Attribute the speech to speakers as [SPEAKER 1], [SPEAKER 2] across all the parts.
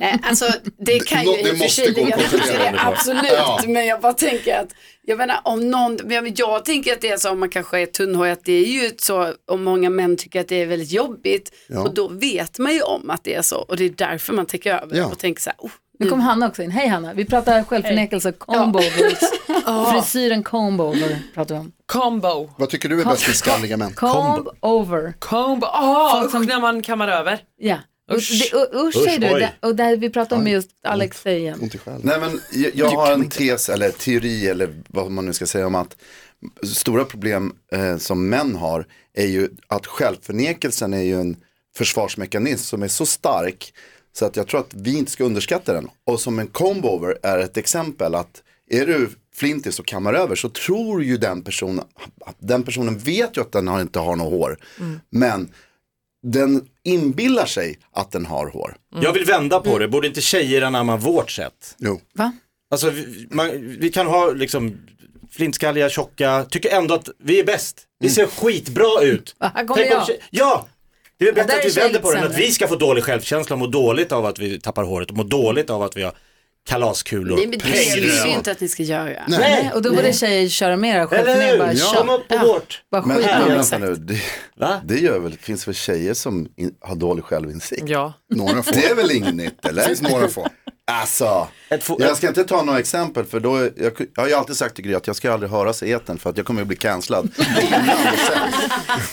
[SPEAKER 1] Nej, alltså det kan ju
[SPEAKER 2] Nå- det
[SPEAKER 1] i och för
[SPEAKER 2] måste
[SPEAKER 1] sig
[SPEAKER 2] gå att
[SPEAKER 1] ligga något i
[SPEAKER 2] kontrollera
[SPEAKER 1] det,
[SPEAKER 2] ändå.
[SPEAKER 1] absolut.
[SPEAKER 2] Ja.
[SPEAKER 1] Men jag bara tänker att, jag menar om någon, men jag, jag tänker att det är så om man kanske är tunnhårig, att det är ju ett så, om många män tycker att det är väldigt jobbigt, och då vet man ju om att det är så, och det är därför man tänker över
[SPEAKER 2] Ja.
[SPEAKER 1] och tänker så här, oh,
[SPEAKER 3] Nu kom Hanna också in. Hej Hanna, vi pratar självförnekelse, combo overs. Frisyren combo over pratar vi om.
[SPEAKER 4] Combo.
[SPEAKER 2] Vad tycker du är bäst med skalliga män?
[SPEAKER 3] Comb over.
[SPEAKER 4] Combo. Åh,
[SPEAKER 3] Folk
[SPEAKER 4] usch,
[SPEAKER 3] som-
[SPEAKER 4] när man kammar över.
[SPEAKER 3] Ja. Och
[SPEAKER 4] Usch.
[SPEAKER 3] det- och- Usch säger
[SPEAKER 5] Usch,
[SPEAKER 3] du,
[SPEAKER 5] oj.
[SPEAKER 3] Det- och det här vi pratar om är just Alex säger igen.
[SPEAKER 2] Ont i själen.
[SPEAKER 6] Nej men jag, jag har en tes eller teori eller vad man nu ska säga om att stora problem eh, som män har är ju att självförnekelsen är ju en försvarsmekanism som är så stark så att jag tror att vi inte ska underskatta den. Och som en combover är ett exempel att är du flintis och kammar över så tror ju den personen, den personen vet ju att den har, inte har något hår.
[SPEAKER 3] Mm.
[SPEAKER 6] Men den inbillar sig att den har hår.
[SPEAKER 5] Jag vill vända på det, borde inte tjejer anamma vårt sätt?
[SPEAKER 2] Jo.
[SPEAKER 3] Va?
[SPEAKER 5] Alltså vi, man, vi kan ha liksom flintskalliga, tjocka, tycker ändå att vi är bäst. Vi
[SPEAKER 6] Mm.
[SPEAKER 5] ser skitbra ut.
[SPEAKER 3] Här kommer
[SPEAKER 5] Tänk om
[SPEAKER 3] jag.
[SPEAKER 5] tjej- ja! Det är
[SPEAKER 3] Ja, där
[SPEAKER 5] bättre
[SPEAKER 3] är
[SPEAKER 5] att vi
[SPEAKER 3] tjejer
[SPEAKER 5] vänder på
[SPEAKER 3] lite
[SPEAKER 5] den, att
[SPEAKER 3] sämre.
[SPEAKER 5] vi ska få dålig självkänsla, och må dåligt av att vi tappar håret och må dåligt av att vi har kalaskulor.
[SPEAKER 1] nej men det vill vi ju
[SPEAKER 5] Pengrör.
[SPEAKER 1] inte att ni ska göra.
[SPEAKER 3] Nej, och då borde tjejer köra mera
[SPEAKER 5] Eller
[SPEAKER 3] självförnekelse.
[SPEAKER 5] hur?
[SPEAKER 3] Bara,
[SPEAKER 5] Kom
[SPEAKER 3] ja.
[SPEAKER 5] upp på vårt.
[SPEAKER 3] bara
[SPEAKER 6] Men,
[SPEAKER 3] skit
[SPEAKER 6] men
[SPEAKER 3] i det.
[SPEAKER 6] vänta nu, det,
[SPEAKER 5] Va?
[SPEAKER 6] det gör väl, finns väl tjejer som in, har dålig självinsikt?
[SPEAKER 4] Ja.
[SPEAKER 2] Några får.
[SPEAKER 6] Det är väl inget nytt eller?
[SPEAKER 2] Det finns några få.
[SPEAKER 6] Alltså,
[SPEAKER 5] Ett fo-
[SPEAKER 6] jag ska inte ta några exempel för då, jag, jag har ju alltid sagt till Gry att jag ska aldrig höras i etern för att jag kommer att bli cancellad.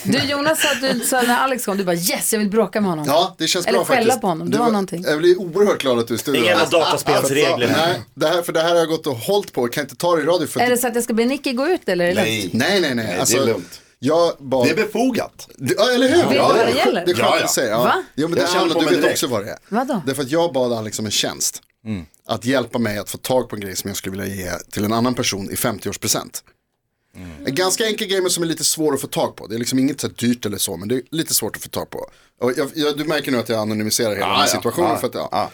[SPEAKER 3] Du Jonas sa att du sa när Alex kom, du bara yes jag vill bråka med honom.
[SPEAKER 2] Ja, det känns
[SPEAKER 3] Eller
[SPEAKER 2] bra
[SPEAKER 3] skälla
[SPEAKER 2] faktiskt.
[SPEAKER 3] på honom, det
[SPEAKER 2] Du
[SPEAKER 3] var
[SPEAKER 2] var-
[SPEAKER 3] någonting.
[SPEAKER 2] Jag blir oerhört glad att du är i studion.
[SPEAKER 5] Det är jävla dataspelsregler.
[SPEAKER 2] Alltså, Nej, det här, för det här har jag gått och hållit på, jag kan inte ta det i radio. För
[SPEAKER 3] Är det så att jag ska be Nicky gå ut eller? är det lätt?
[SPEAKER 2] Nej, nej, nej.
[SPEAKER 6] det är
[SPEAKER 2] Alltså,
[SPEAKER 6] lugnt.
[SPEAKER 2] Jag bad...
[SPEAKER 6] Det är befogat.
[SPEAKER 2] Det- Ja, eller hur?
[SPEAKER 3] du
[SPEAKER 2] ja,
[SPEAKER 3] vad det
[SPEAKER 2] ja.
[SPEAKER 3] gäller?
[SPEAKER 2] Det är klart
[SPEAKER 6] Ja, ja.
[SPEAKER 2] att jag säger. Ja.
[SPEAKER 3] Va?
[SPEAKER 2] Jo, men det
[SPEAKER 6] Jag känner
[SPEAKER 2] handlar,
[SPEAKER 6] på
[SPEAKER 2] du
[SPEAKER 6] mig
[SPEAKER 2] vet
[SPEAKER 6] direkt. Mm.
[SPEAKER 2] också vad det är.
[SPEAKER 3] Vadå?
[SPEAKER 2] Därför att jag bad Alex om en tjänst. Att hjälpa mig att få tag på en grej som jag skulle vilja ge till en annan person i 50-årspresent.
[SPEAKER 6] Mm.
[SPEAKER 2] En ganska enkel grej men som är lite svår att få tag på. Det är liksom inget så här dyrt eller så men det är lite svårt att få tag på. Och jag, jag, du märker nu att jag anonymiserar hela den här
[SPEAKER 6] ja.
[SPEAKER 2] situationen.
[SPEAKER 6] Ja,
[SPEAKER 2] för att, ja.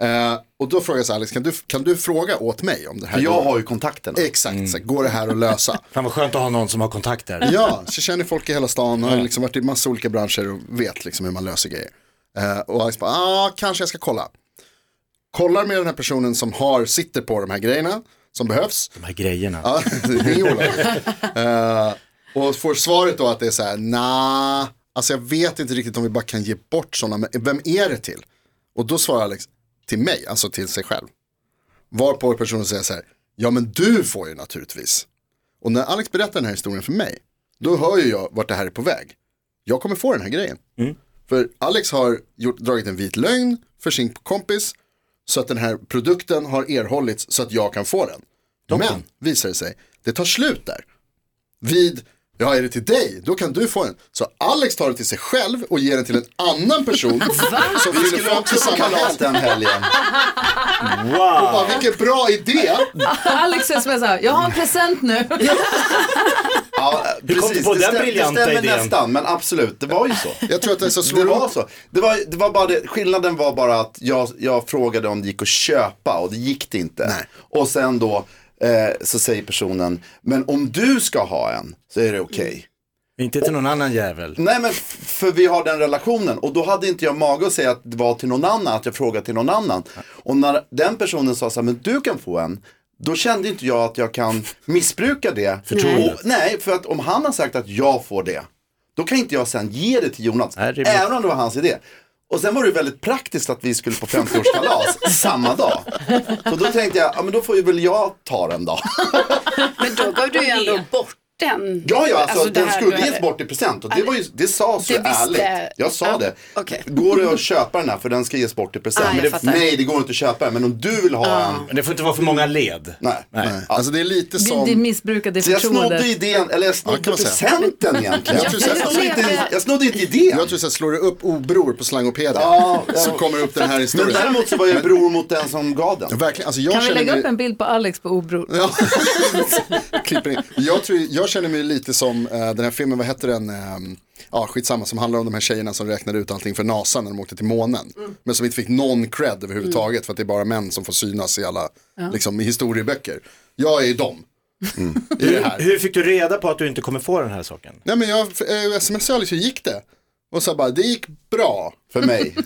[SPEAKER 2] Eh, och då frågar jag så här, Alex, kan du, kan du fråga åt mig om det här?
[SPEAKER 6] Jag har ju Mm. kontakterna.
[SPEAKER 2] Exakt, så här, går det här att lösa?
[SPEAKER 5] Fan vad skönt att ha någon som har kontakter.
[SPEAKER 2] Ja, så känner folk i hela stan och har liksom varit i massa olika branscher och vet liksom hur man löser grejer. Eh, och Alex bara, ah, kanske jag ska kolla. Kollar med den här personen som har, sitter på de här grejerna som behövs.
[SPEAKER 5] De här grejerna.
[SPEAKER 2] Ja, det är olagligt. Eh, och får svaret då att det är så här, nah, Alltså jag vet inte riktigt om vi bara kan ge bort sådana, men vem är det till? Och då svarar Alex, till mig, alltså till sig själv. Varpå personen säger så här, ja men du får ju naturligtvis. Och när Alex berättar den här historien för mig, då hör ju jag vart det här är på väg. Jag kommer få den här grejen. För Alex har gjort, dragit en vit lögn för sin kompis så att den här produkten har erhållits så att jag kan få den. Men, visar det sig, det tar slut där. Vid, ja är det till dig, då kan du få den. Så Alex tar det till sig själv och ger den till en annan person som fyller fram till samma helg.
[SPEAKER 6] den helgen.
[SPEAKER 5] Wow!
[SPEAKER 2] Ja, vilken bra idé!
[SPEAKER 3] Alex är som jag sa, jag har en present nu.
[SPEAKER 6] Ja,
[SPEAKER 5] kom du på
[SPEAKER 6] det
[SPEAKER 5] den
[SPEAKER 6] stäm-
[SPEAKER 5] briljanta
[SPEAKER 6] Det stämmer
[SPEAKER 5] idén?
[SPEAKER 6] nästan, men absolut, det var ju så.
[SPEAKER 2] Jag tror att den så
[SPEAKER 6] Det
[SPEAKER 2] slår
[SPEAKER 6] var
[SPEAKER 2] ihop.
[SPEAKER 6] så. Det var, det var bara det. Skillnaden var bara att jag, jag frågade om det gick att köpa och det gick det inte. Och sen då eh, så säger personen, men om du ska ha en så är det okej.
[SPEAKER 5] Inte till någon annan jävel.
[SPEAKER 6] Nej men f- för vi har den relationen och då hade inte jag mage att säga att det var till någon annan, att jag frågade till någon annan. Och när den personen sa så här, men du kan få en. Då kände inte jag att jag kan missbruka det.
[SPEAKER 5] Förtroendet.
[SPEAKER 6] Och- Nej, för att om han har sagt att jag får det, då kan inte jag sen ge det till Jonas.
[SPEAKER 5] Nej, rimligt.
[SPEAKER 6] Även om det var hans idé. Och sen var det ju väldigt praktiskt att vi skulle på 50-årskalas samma dag. Så då tänkte jag, ja men då får ju väl jag ta den då.
[SPEAKER 1] Men då gav du ju ändå bort den.
[SPEAKER 6] Ja, ja, alltså,
[SPEAKER 1] det
[SPEAKER 6] den
[SPEAKER 1] här
[SPEAKER 6] skulle
[SPEAKER 1] du
[SPEAKER 6] ges
[SPEAKER 1] hade-
[SPEAKER 6] bort i present och det, var ju, det sa så
[SPEAKER 1] Det visste-
[SPEAKER 6] ärligt. Jag sa
[SPEAKER 1] Ja,
[SPEAKER 6] det.
[SPEAKER 1] okej.
[SPEAKER 6] Går det att köpa den här för den ska ges bort i present?
[SPEAKER 1] Ah, jag
[SPEAKER 6] Men det,
[SPEAKER 1] fattar.
[SPEAKER 6] nej, det går inte att köpa den, men om du vill ha en,
[SPEAKER 5] Men det får inte vara för många led.
[SPEAKER 6] nej.
[SPEAKER 2] Nej. Alltså det är lite
[SPEAKER 3] Det- Det
[SPEAKER 2] som,
[SPEAKER 3] missbrukar det
[SPEAKER 6] Så jag snodde
[SPEAKER 3] förtroendet.
[SPEAKER 6] idén, eller jag
[SPEAKER 2] Ja,
[SPEAKER 6] snodde
[SPEAKER 2] kan man säga.
[SPEAKER 6] presenten egentligen.
[SPEAKER 2] Jag tror så här-
[SPEAKER 6] Jag snodde inte, jag snodde inte idén.
[SPEAKER 2] jag tror så här, slår du upp obror på slangopedia
[SPEAKER 6] Ja, ja.
[SPEAKER 2] så kommer upp den här
[SPEAKER 6] Men
[SPEAKER 2] historien.
[SPEAKER 6] däremot så var jag bror mot den som gav den.
[SPEAKER 2] Verkligen, alltså jag
[SPEAKER 3] Kan vi
[SPEAKER 2] känner
[SPEAKER 3] lägga
[SPEAKER 2] mig...
[SPEAKER 3] upp en bild på Alex på Obror?
[SPEAKER 2] Ja. Klipper in. Jag, tror, jag känner mig lite som eh, den här filmen, vad hette den? Eh, ja, skitsamma, som handlar om de här tjejerna som räknade ut allting för NASA när de åkte till månen.
[SPEAKER 3] Mm.
[SPEAKER 2] Men som inte fick någon cred överhuvudtaget för att det är bara män som får synas i alla liksom, i historieböcker. Jag är ju dem.
[SPEAKER 6] Mm.
[SPEAKER 2] I det här.
[SPEAKER 5] Hur fick du reda på att du inte kommer få den här saken?
[SPEAKER 2] Nej men jag eh, smsade Alice, hur gick det? Och så bara, det gick bra.
[SPEAKER 6] För mig.
[SPEAKER 5] För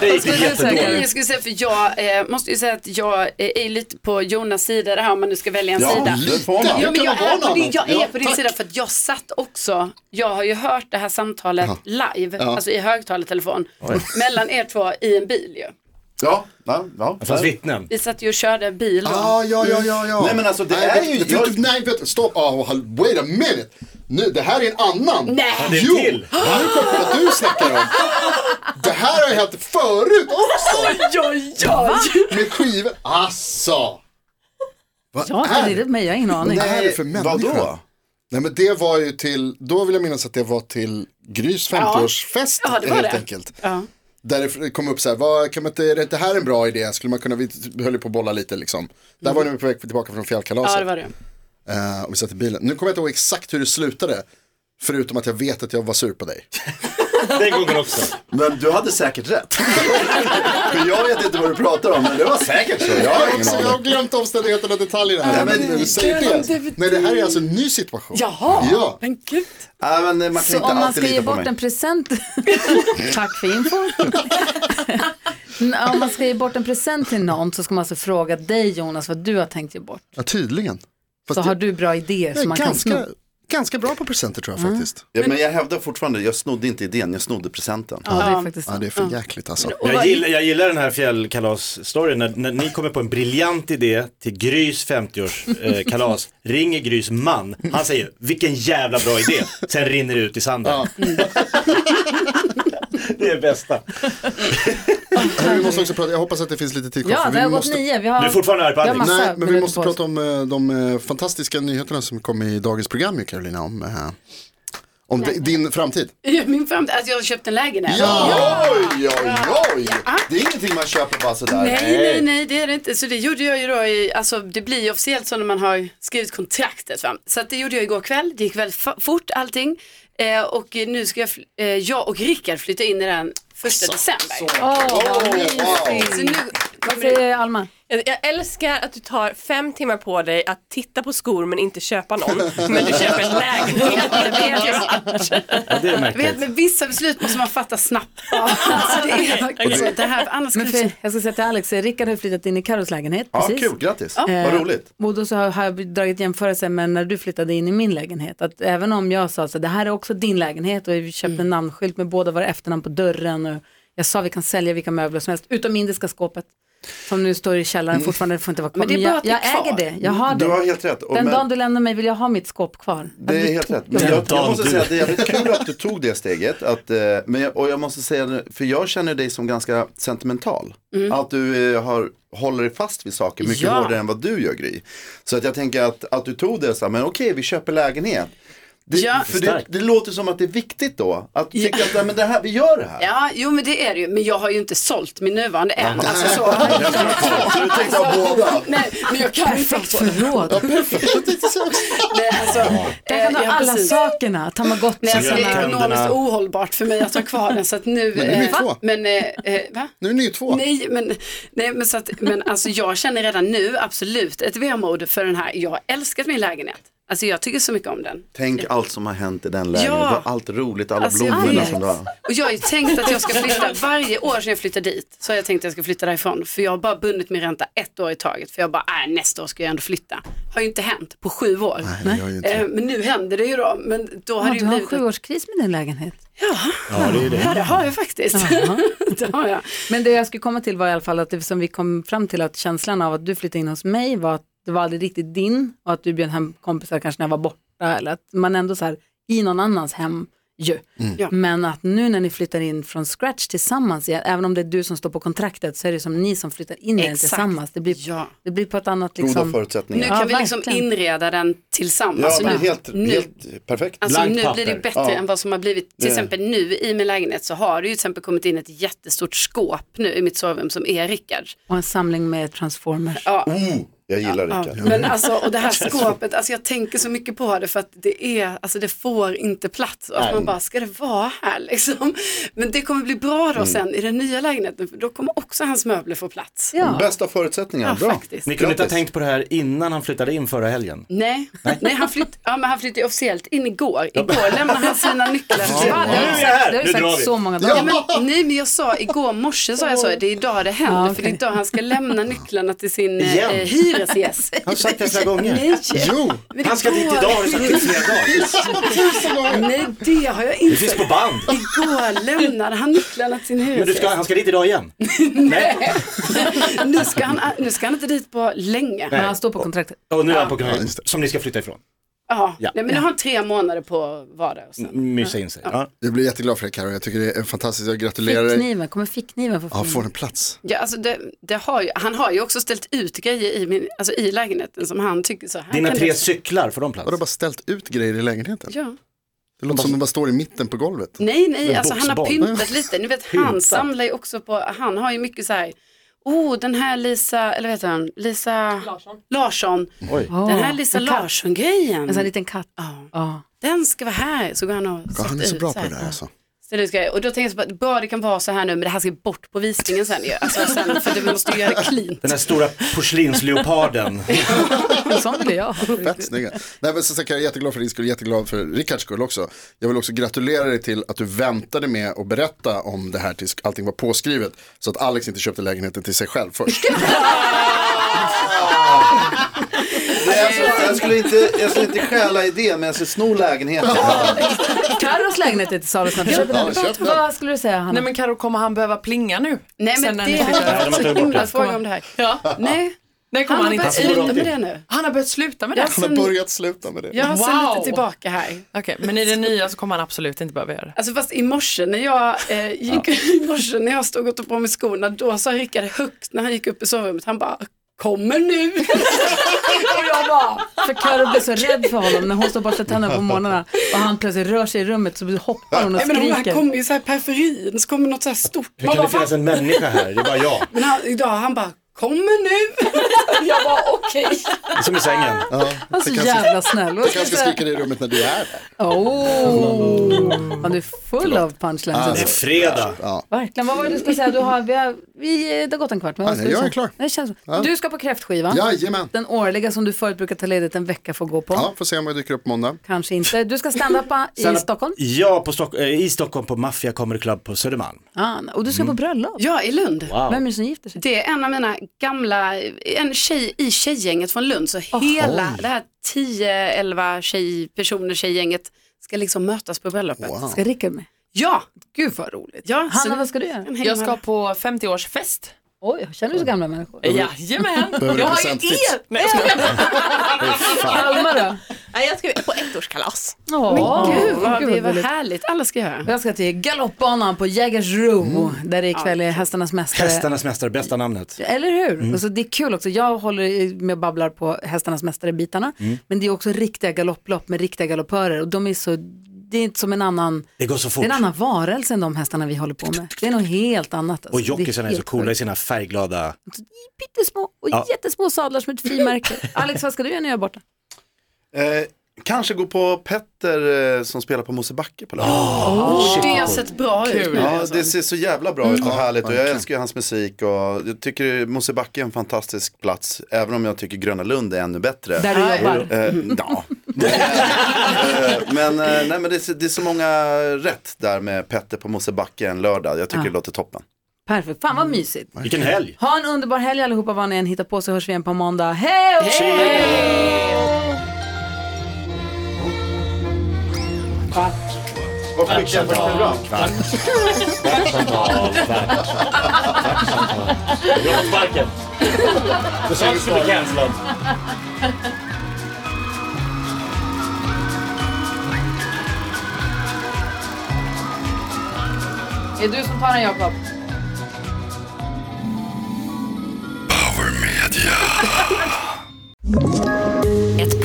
[SPEAKER 5] dig gick Alltså, det
[SPEAKER 3] skulle du säga?
[SPEAKER 1] Nej,
[SPEAKER 5] jättedåligt.
[SPEAKER 1] jag skulle säga för jag eh, måste ju säga att jag eh, är lite på Jonas sida det här om man nu ska välja en sida.
[SPEAKER 6] det får
[SPEAKER 2] Ja,
[SPEAKER 1] Ja,
[SPEAKER 6] man.
[SPEAKER 1] men
[SPEAKER 2] kan
[SPEAKER 1] jag
[SPEAKER 2] man
[SPEAKER 1] är,
[SPEAKER 2] vara
[SPEAKER 1] på
[SPEAKER 2] någon
[SPEAKER 1] din,
[SPEAKER 2] annan?
[SPEAKER 1] jag är
[SPEAKER 2] Ja,
[SPEAKER 1] på din
[SPEAKER 2] tack.
[SPEAKER 1] sida för att jag satt också, jag har ju hört det här samtalet live, alltså i högtalartelefon, mellan er två i en bil ju.
[SPEAKER 6] Ja, ja, ja.
[SPEAKER 5] Det fanns vittnen.
[SPEAKER 1] Vi satt ju och körde bil då.
[SPEAKER 2] Ah, ja, ja, ja, ja.
[SPEAKER 6] Nej, men alltså, det
[SPEAKER 2] nej,
[SPEAKER 6] är
[SPEAKER 2] vet-
[SPEAKER 6] ju-
[SPEAKER 2] vet-
[SPEAKER 6] jag-
[SPEAKER 2] vet- nej, vet, stopp. Oh, wait a minute. Nu, det här är en annan.
[SPEAKER 1] Nej.
[SPEAKER 5] det är en
[SPEAKER 2] jo,
[SPEAKER 5] till.
[SPEAKER 2] nu kommer jag vad du snackar om. Det här har ju hänt förut också.
[SPEAKER 1] Ja, ja,
[SPEAKER 2] Med skivor. Alltså. Vad
[SPEAKER 3] Ja, det är det med mig, jag har ingen aning.
[SPEAKER 2] Vad är det för människa?
[SPEAKER 6] Vadå?
[SPEAKER 2] Nej men det var ju till, då vill jag minnas att det var till Grys 50-årsfest
[SPEAKER 1] Ja, det var
[SPEAKER 2] helt
[SPEAKER 1] det.
[SPEAKER 2] enkelt.
[SPEAKER 1] ja.
[SPEAKER 2] Där det kom upp så här, vad, kan man inte, är det inte här en bra idé? Skulle man kunna, vi höll ju på att bolla lite liksom. Där var ni på väg tillbaka från fjällkalaset.
[SPEAKER 1] Mm. ja det var det.
[SPEAKER 2] Eh, och vi satt i bilen. Nu kommer jag inte ihåg exakt hur det slutade. Förutom att jag vet att jag var sur på dig.
[SPEAKER 5] Den gången också.
[SPEAKER 6] Men du hade säkert rätt. För jag vet inte vad du pratar om, men det var säkert så. Jag har ingen
[SPEAKER 2] också, jag
[SPEAKER 6] aning.
[SPEAKER 2] har glömt omständigheterna och detaljerna
[SPEAKER 6] Nej,
[SPEAKER 2] här. men,
[SPEAKER 6] men
[SPEAKER 2] när du säger
[SPEAKER 1] glöm det
[SPEAKER 2] det.
[SPEAKER 1] för
[SPEAKER 2] Nej, det här är alltså en ny situation.
[SPEAKER 1] Jaha,
[SPEAKER 2] Ja.
[SPEAKER 1] men gud.
[SPEAKER 6] Nej, men man kan
[SPEAKER 3] Så
[SPEAKER 6] inte
[SPEAKER 3] om man
[SPEAKER 6] alltid
[SPEAKER 3] ska ge
[SPEAKER 6] lita på
[SPEAKER 3] bort
[SPEAKER 6] mig.
[SPEAKER 3] en present, tack för info. om man ska ge bort en present till någon så ska man alltså fråga dig Jonas vad du har tänkt ge bort.
[SPEAKER 2] Ja, tydligen. Fast
[SPEAKER 3] Så
[SPEAKER 2] jag-
[SPEAKER 3] har du bra idéer
[SPEAKER 2] jag
[SPEAKER 3] som
[SPEAKER 2] är
[SPEAKER 3] man kan sno.
[SPEAKER 2] ganska, ganska bra på presenter tror jag
[SPEAKER 1] Mm.
[SPEAKER 2] faktiskt.
[SPEAKER 6] Ja, men jag hävdar fortfarande, jag snodde inte idén, jag snodde presenten.
[SPEAKER 3] Ja, det är faktiskt
[SPEAKER 2] Ja, det är för jäkligt alltså.
[SPEAKER 5] Jag gillar, jag gillar den här fjällkalas-storyn. När, när ni kommer på en briljant idé till Grys 50-årskalas, eh, kalas, ringer Grys man. Han säger, vilken jävla bra idé. Sen rinner det ut i sanden. det är det bästa.
[SPEAKER 2] Hörru, Vi måste också prata, jag hoppas att det finns lite tid kvar.
[SPEAKER 3] Ja,
[SPEAKER 2] för
[SPEAKER 3] det
[SPEAKER 2] vi
[SPEAKER 3] har gått
[SPEAKER 2] måste-
[SPEAKER 3] nio. Vi har...
[SPEAKER 5] Du är fortfarande arg på
[SPEAKER 3] vi har
[SPEAKER 5] Alex.
[SPEAKER 3] massa
[SPEAKER 2] Nej, men vi
[SPEAKER 3] biljetter
[SPEAKER 2] måste
[SPEAKER 3] på oss.
[SPEAKER 2] prata om eh, de eh, fantastiska nyheterna som kom i dagens program ju Carolina. Om, eh, om di- din framtid.
[SPEAKER 1] Ja, Min framtid, alltså jag har köpt en lägenhet.
[SPEAKER 6] Oj, oj, oj! Det är ingenting man köper bara sådär.
[SPEAKER 1] Nej, nej, nej, det är det inte. Så det gjorde jag ju då i, alltså det blir ju officiellt så när man har skrivit kontraktet. Va? Så att det gjorde jag igår kväll, det gick väldigt fa- fort allting. Eh, och nu ska jag, fl- eh, jag och Rickard flytta in i den första december.
[SPEAKER 3] Åh, vad
[SPEAKER 6] wow.
[SPEAKER 3] mysigt.
[SPEAKER 1] Så nu
[SPEAKER 3] Vad säger Alma?
[SPEAKER 7] Jag jag älskar att du tar fem timmar på dig att titta på skor men inte köpa någon. Men du köper en lägenhet. Det vet jag.
[SPEAKER 5] Ja, det är
[SPEAKER 1] Jag vet,
[SPEAKER 5] märkligt.
[SPEAKER 1] men vissa beslut måste man fatta snabbt. Alltså, det, är verkligen så. det här, annars
[SPEAKER 3] Men för,
[SPEAKER 1] kanske...
[SPEAKER 3] jag ska säga till Alex, Rickard har flyttat in i Carros lägenhet.
[SPEAKER 6] Ja,
[SPEAKER 3] precis.
[SPEAKER 6] kul, grattis. Vad
[SPEAKER 3] Eh,
[SPEAKER 6] roligt.
[SPEAKER 3] Och då så har har jag dragit jämförelse med när du flyttade in i min lägenhet. Att även om jag sa så det här är också din lägenhet och vi
[SPEAKER 1] Mm.
[SPEAKER 3] köpte en namnskylt med båda våra efternamn på dörren. Och jag sa vi kan sälja vilka möbler som helst, utom indiska skåpet. Som nu står i källaren fortfarande, får inte vara kvar.
[SPEAKER 1] Mm. Men det är bra att
[SPEAKER 3] jag,
[SPEAKER 1] det är
[SPEAKER 3] jag äger
[SPEAKER 1] kvar.
[SPEAKER 3] det, jag har det.
[SPEAKER 6] Du har helt rätt. Och
[SPEAKER 3] Den
[SPEAKER 6] men-
[SPEAKER 3] dagen du lämnar mig vill jag ha mitt skåp kvar.
[SPEAKER 6] Det är helt rätt. Men
[SPEAKER 5] Den
[SPEAKER 6] jag, jag
[SPEAKER 5] dagen
[SPEAKER 6] måste
[SPEAKER 5] du-
[SPEAKER 6] säga att det är jävligt kul att du tog det steget. Att, eh, men jag, och jag måste säga, det, för jag känner dig som ganska sentimental.
[SPEAKER 1] Mm.
[SPEAKER 6] Att du eh, har, håller dig fast vid saker mycket
[SPEAKER 1] Ja.
[SPEAKER 6] hårdare än vad du gör Gry. Så att jag tänker att, att du tog det så här, men okej vi köper lägenhet. Det,
[SPEAKER 1] Ja.
[SPEAKER 6] för det,
[SPEAKER 5] Starkt.
[SPEAKER 6] det låter som att det är viktigt då. Att tycka att nej, men det här, vi gör det här.
[SPEAKER 1] Ja, jo men det är det ju. Men jag har ju inte sålt min nuvarande än. Alltså, så.
[SPEAKER 6] Så du tänkte ha båda.
[SPEAKER 1] Nej, men jag kan inte
[SPEAKER 3] Alltså, Perfekt
[SPEAKER 1] få det.
[SPEAKER 3] förråd.
[SPEAKER 1] Nej, alltså,
[SPEAKER 3] Där kan du
[SPEAKER 1] eh, ja,
[SPEAKER 3] ha alla
[SPEAKER 1] precis.
[SPEAKER 3] sakerna, tamagotchi.
[SPEAKER 1] Nej, alltså, det är
[SPEAKER 5] Tänderna.
[SPEAKER 1] ekonomiskt ohållbart för mig att ha kvar den. Så att nu,
[SPEAKER 2] Men det är ju
[SPEAKER 1] eh,
[SPEAKER 2] två.
[SPEAKER 1] men, eh, eh, va?
[SPEAKER 2] Nu är ni ju två.
[SPEAKER 1] Nej, men, nej, men, så att, men alltså, jag känner redan nu absolut ett vemod för den här. Jag har älskat min lägenhet. Alltså jag tycker så mycket om den.
[SPEAKER 6] Tänk allt som har hänt i den lägenheten.
[SPEAKER 1] Ja.
[SPEAKER 6] Allt roligt, alla
[SPEAKER 1] Alltså, jag
[SPEAKER 6] blommorna
[SPEAKER 1] vet.
[SPEAKER 6] som du har.
[SPEAKER 1] Och jag har ju tänkt att jag ska flytta, varje år sedan jag flyttade dit så har jag tänkt att jag ska flytta därifrån. För jag har bara bundit min ränta ett år i taget. För jag bara, äh, nästa år ska jag ändå flytta. Har ju inte hänt på sju år.
[SPEAKER 2] Nej, jag är ju inte.
[SPEAKER 1] Eh, Men nu händer det ju då. Men då har
[SPEAKER 3] Ja,
[SPEAKER 1] det
[SPEAKER 3] du
[SPEAKER 1] ju
[SPEAKER 3] har en
[SPEAKER 1] blivit...
[SPEAKER 3] sjuårskris med din lägenhet.
[SPEAKER 5] Ja, det är det.
[SPEAKER 1] Ja, det har jag faktiskt. det har jag.
[SPEAKER 3] Men det jag skulle komma till var i alla fall att det som vi kom fram till att känslan av att du flyttade in hos mig var att det var aldrig riktigt din och att du bjöd hem kompisar kanske när jag var borta eller att man ändå så här i någon annans hem ju.
[SPEAKER 5] Mm.
[SPEAKER 1] Ja.
[SPEAKER 3] Men att nu när ni flyttar in från scratch tillsammans, igen, även om det är du som står på kontraktet så är det som ni som flyttar in i den
[SPEAKER 1] Exakt.
[SPEAKER 3] tillsammans. Det blir,
[SPEAKER 1] Ja.
[SPEAKER 3] det blir på ett annat
[SPEAKER 6] Goda
[SPEAKER 3] liksom.
[SPEAKER 1] Nu
[SPEAKER 6] förutsättningar.
[SPEAKER 1] kan
[SPEAKER 3] Ja,
[SPEAKER 1] vi liksom
[SPEAKER 3] verkligen.
[SPEAKER 1] inreda den tillsammans.
[SPEAKER 6] Ja,
[SPEAKER 1] Så
[SPEAKER 6] men
[SPEAKER 1] nu,
[SPEAKER 6] helt,
[SPEAKER 1] nu,
[SPEAKER 6] helt perfekt.
[SPEAKER 1] alltså,
[SPEAKER 5] Blankt
[SPEAKER 1] nu blir det
[SPEAKER 5] papper.
[SPEAKER 1] bättre än vad som har blivit. Till exempel nu i min lägenhet så har det ju till exempel kommit in ett jättestort skåp nu i mitt sovrum som är Rickards.
[SPEAKER 3] Och en samling med transformers.
[SPEAKER 6] Jag gillar Rickard.
[SPEAKER 1] Men alltså, och det här skåpet, alltså jag tänker så mycket på det för att det är, alltså det får inte plats. Att man bara, ska det vara här liksom? Men det kommer bli bra
[SPEAKER 6] Mm.
[SPEAKER 1] då sen i den nya lägenheten, för då kommer också hans möbler få plats.
[SPEAKER 3] Ja.
[SPEAKER 6] Bästa förutsättningar,
[SPEAKER 1] Ja,
[SPEAKER 6] bra.
[SPEAKER 1] faktiskt.
[SPEAKER 5] Ni kunde inte ha
[SPEAKER 6] Grattis.
[SPEAKER 5] tänkt på det här innan han flyttade in förra helgen.
[SPEAKER 1] Nej, Nej han, flytt, ja, men han flyttade ju officiellt in igår. Igår lämnade han sina nycklar till
[SPEAKER 3] Det har
[SPEAKER 1] vallen.
[SPEAKER 3] jag
[SPEAKER 5] jag
[SPEAKER 3] sagt-
[SPEAKER 5] här.
[SPEAKER 3] det har
[SPEAKER 5] Nu
[SPEAKER 3] jag
[SPEAKER 5] drar vi.
[SPEAKER 3] sagt så många
[SPEAKER 1] Ja,
[SPEAKER 3] dagar.
[SPEAKER 1] men, nej men jag sa igår morse sa jag så, det är idag det händer
[SPEAKER 3] Ja, okej.
[SPEAKER 1] för det är idag han ska lämna nycklarna till sin eh,
[SPEAKER 5] Igen?
[SPEAKER 1] hyresgäst.
[SPEAKER 5] Har du sagt det flera gånger?
[SPEAKER 1] Nej,
[SPEAKER 2] Jo,
[SPEAKER 1] men
[SPEAKER 5] Han ska dit
[SPEAKER 1] igår-
[SPEAKER 5] idag har du sagt det flera dagar.
[SPEAKER 1] Nej det har jag
[SPEAKER 5] Det
[SPEAKER 1] inte.
[SPEAKER 5] finns på band.
[SPEAKER 1] Igår lämnade han nycklarna till sin
[SPEAKER 5] Men du
[SPEAKER 1] hyresgäst.
[SPEAKER 5] ska, han ska dit idag igen. Nej.
[SPEAKER 1] Nu, ska han, nu ska han inte dit på länge.
[SPEAKER 3] Men han står på kontraktet.
[SPEAKER 5] Och nu är han på
[SPEAKER 2] Ja,
[SPEAKER 5] grund
[SPEAKER 2] just det.
[SPEAKER 5] som ni ska flytta ifrån.
[SPEAKER 1] Ja.
[SPEAKER 5] Ja.
[SPEAKER 1] Nej, men nu har han tre månader på att vara där. Och sen.
[SPEAKER 5] Mysa in sig. Ja.
[SPEAKER 2] jag blir jätteglad för det Carro. Jag tycker det är fantastiskt. Jag gratulerar dig.
[SPEAKER 3] Fickkniven, kommer fickkniven få
[SPEAKER 2] Ja,
[SPEAKER 3] fin-
[SPEAKER 2] får en plats.
[SPEAKER 1] Ja, alltså det, det har ju, han har ju också ställt ut grejer i, min, alltså i lägenheten som han tycker så här.
[SPEAKER 5] Dina
[SPEAKER 1] kan
[SPEAKER 5] tre
[SPEAKER 1] det-
[SPEAKER 5] cyklar, får de plats?
[SPEAKER 2] Har du bara ställt ut grejer i lägenheten?
[SPEAKER 1] Ja.
[SPEAKER 2] Det låter som de bara står i mitten på golvet.
[SPEAKER 1] Nej, nej,
[SPEAKER 5] Men
[SPEAKER 1] alltså han har
[SPEAKER 5] boxboll.
[SPEAKER 1] pyntat lite. Ni vet, han samlar ju också på, han har ju mycket så här, oh, den här Lisa, eller vad heter han, Lisa Larsson,
[SPEAKER 5] Oj.
[SPEAKER 3] Åh,
[SPEAKER 1] den här Lisa
[SPEAKER 3] en katt.
[SPEAKER 1] Larsson-grejen,
[SPEAKER 3] En sån här liten katt.
[SPEAKER 1] Ja.
[SPEAKER 3] Ja.
[SPEAKER 1] den ska vara här. Så går han och
[SPEAKER 2] Ja, han är
[SPEAKER 1] sätter
[SPEAKER 2] så
[SPEAKER 1] ut
[SPEAKER 2] bra på det där
[SPEAKER 1] här.
[SPEAKER 2] alltså.
[SPEAKER 1] Ställer ut grejer. Och då tänker jag så bara, bra det kan vara så här nu, men det här ska bort på visningen sen ju. Alltså sen, för att vi måste ju göra det clean.
[SPEAKER 5] Den här stora porslinsleoparden.
[SPEAKER 3] En sån vill jag ha.
[SPEAKER 2] Fett snygga. Nej, men så, så, jag är jätteglad för din skull, jätteglad för Rickards skull också. Jag vill också gratulera dig till att du väntade med att berätta om det här tills allting var påskrivet. Så att Alex inte köpte lägenheten till sig själv först.
[SPEAKER 6] Nej, jag, skulle, jag, skulle inte, jag skulle inte stjäla idén, men jag skulle sno lägenheten.
[SPEAKER 3] Carros lägenhet är till salu snart. Köp den.
[SPEAKER 2] Ja, köp den.
[SPEAKER 3] Vad skulle du säga Hanna?
[SPEAKER 4] Nej men Karo kommer han behöva plinga nu?
[SPEAKER 1] Nej men
[SPEAKER 4] Sen när ni
[SPEAKER 1] det har
[SPEAKER 4] flyttar?
[SPEAKER 1] jag fått så
[SPEAKER 5] tagit bort
[SPEAKER 1] himla
[SPEAKER 5] det.
[SPEAKER 1] fråga om det här.
[SPEAKER 4] Ja.
[SPEAKER 1] Nej,
[SPEAKER 4] Nej
[SPEAKER 1] han
[SPEAKER 4] kommer
[SPEAKER 1] har
[SPEAKER 4] han
[SPEAKER 1] börjat
[SPEAKER 4] inte.
[SPEAKER 1] sluta med det nu.
[SPEAKER 4] Han har börjat sluta med det.
[SPEAKER 1] Ja.
[SPEAKER 2] Han har börjat sluta med det.
[SPEAKER 1] Jag har sen
[SPEAKER 4] Wow.
[SPEAKER 1] lite tillbaka här.
[SPEAKER 4] Okej, men i det nya så kommer han absolut inte behöva göra det.
[SPEAKER 1] Alltså fast i morse när jag eh, gick i morse när jag stod och tog på mig skorna då sa Rickard högt när han gick upp i sovrummet han bara kommer nu. och jag bara
[SPEAKER 3] Alltså, För Carro blev så rädd för honom när hon står och borstar tänderna på morgnarna och han plötsligt rör sig i rummet så hoppar hon
[SPEAKER 1] nej
[SPEAKER 3] och
[SPEAKER 1] men hon
[SPEAKER 3] skriker.
[SPEAKER 1] bara kommer ju så här i periferin så kommer något så här stort.
[SPEAKER 5] Hur
[SPEAKER 1] Man
[SPEAKER 5] kan
[SPEAKER 1] bara,
[SPEAKER 5] det finnas
[SPEAKER 1] "Va?"
[SPEAKER 5] en människa här? Det är bara jag.
[SPEAKER 1] men han, idag han bara kommer nu. jag bara okej.
[SPEAKER 5] Som i sängen.
[SPEAKER 3] Alltså jävla snäll.
[SPEAKER 2] Jag kanske skriker i rummet när du är där.
[SPEAKER 3] Oh. Man är full av punchlines.
[SPEAKER 2] Ah.
[SPEAKER 5] Det är fredag.
[SPEAKER 2] Ja.
[SPEAKER 3] Verkligen. Vad var det du skulle säga? Du har, vi har, vi, det har gått en kvart. Men vad
[SPEAKER 2] Ja,
[SPEAKER 3] ska du
[SPEAKER 2] Ah, jag
[SPEAKER 3] säga?
[SPEAKER 2] är klar.
[SPEAKER 3] Det känns,
[SPEAKER 2] Ja.
[SPEAKER 3] Du ska på kräftskivan.
[SPEAKER 2] Jajamän.
[SPEAKER 3] Den årliga som du förut brukar ta ledigt en vecka för att gå på.
[SPEAKER 2] Ja, får se om jag dyker upp måndag.
[SPEAKER 3] Kanske inte. Du ska stand-upa i
[SPEAKER 5] Stand-up.
[SPEAKER 3] Stockholm.
[SPEAKER 5] Ja, på Stock- eh, i Stockholm på Mafia Comedy Club på Södermalm.
[SPEAKER 3] Ah, och du ska
[SPEAKER 2] Mm.
[SPEAKER 3] på bröllop.
[SPEAKER 1] Ja, i Lund.
[SPEAKER 5] Wow.
[SPEAKER 3] Vem är det som gifter sig?
[SPEAKER 1] Det är en av mina gamla, en tjej i tjejgänget från Lund. Så hela det här 10-11 tjej, personer tjejgänget ska liksom mötas på bröllopet.
[SPEAKER 3] Ska Rickard med?
[SPEAKER 1] Ja,
[SPEAKER 3] Gud vad roligt.
[SPEAKER 1] ja så
[SPEAKER 3] Hanna,
[SPEAKER 1] vi
[SPEAKER 3] vad ska du göra?
[SPEAKER 1] kan hänga
[SPEAKER 4] Jag
[SPEAKER 1] med
[SPEAKER 4] ska
[SPEAKER 1] alla.
[SPEAKER 4] på 50-årsfest.
[SPEAKER 3] Oj, känner du så gamla människor?
[SPEAKER 4] Jajamän.
[SPEAKER 2] Behöver
[SPEAKER 4] Jag
[SPEAKER 2] du
[SPEAKER 4] har ju
[SPEAKER 2] presenttips?
[SPEAKER 4] er. Nej, jag skojar.
[SPEAKER 3] Alma då?
[SPEAKER 7] Nej, jag ska på ettårskalas.
[SPEAKER 3] Åh,
[SPEAKER 1] Gud vad,
[SPEAKER 3] gud,
[SPEAKER 1] det
[SPEAKER 3] vad
[SPEAKER 1] var
[SPEAKER 3] roligt.
[SPEAKER 1] härligt, alla ska göra.
[SPEAKER 3] Jag ska till galoppbanan på Jägersro
[SPEAKER 5] Mm.
[SPEAKER 3] där det ikväll är Hästarnas Mästare.
[SPEAKER 5] Hästarnas mästare, bästa namnet.
[SPEAKER 3] Eller hur?
[SPEAKER 5] Mm.
[SPEAKER 3] Och så Eh, det är kul också. Jag håller i- med och babblar på Hästarnas Mästare-bitarna.
[SPEAKER 5] Mm.
[SPEAKER 3] Men det är också riktiga galopplopp med riktiga galoppörer. Och de är så, det är inte som en annan,
[SPEAKER 5] Det går så
[SPEAKER 3] det är
[SPEAKER 5] fort.
[SPEAKER 3] en annan varelse än de hästarna vi håller på med. Det är något helt annat. Alltså.
[SPEAKER 5] Och
[SPEAKER 3] Det
[SPEAKER 5] jockeysarna är så
[SPEAKER 3] helt
[SPEAKER 5] coola i
[SPEAKER 3] sjukt.
[SPEAKER 5] sina färgglada...
[SPEAKER 3] Pyttesmå och
[SPEAKER 5] Ja.
[SPEAKER 3] jättesmå sadlar som ett frimärke. Alex, vad ska du göra när jag är borta?
[SPEAKER 6] Eh, kanske gå på Petter eh, som spelar på Mosebacke på lördag.
[SPEAKER 1] Det har sett bra ut.
[SPEAKER 6] Ja, det ser så jävla bra ut och härligt och jag
[SPEAKER 2] verkligen.
[SPEAKER 6] älskar ju hans musik och jag tycker Mosebacke är en fantastisk plats även om jag tycker Gröna Lund är ännu bättre.
[SPEAKER 3] Där du jobbar.
[SPEAKER 6] Eh, ja. Eh, men eh, nej, men det, är, så- det är så många rätt där med Petter på Mosebacke en lördag. Jag tycker det låter toppen.
[SPEAKER 3] Perfekt, fan vad mysigt.
[SPEAKER 5] Vilken helg!
[SPEAKER 3] Ha en underbar helg allihopa vad ni än hittar på så hörs vi igen på måndag. Hej! Det är du som tar den Jakob.
[SPEAKER 8] Ett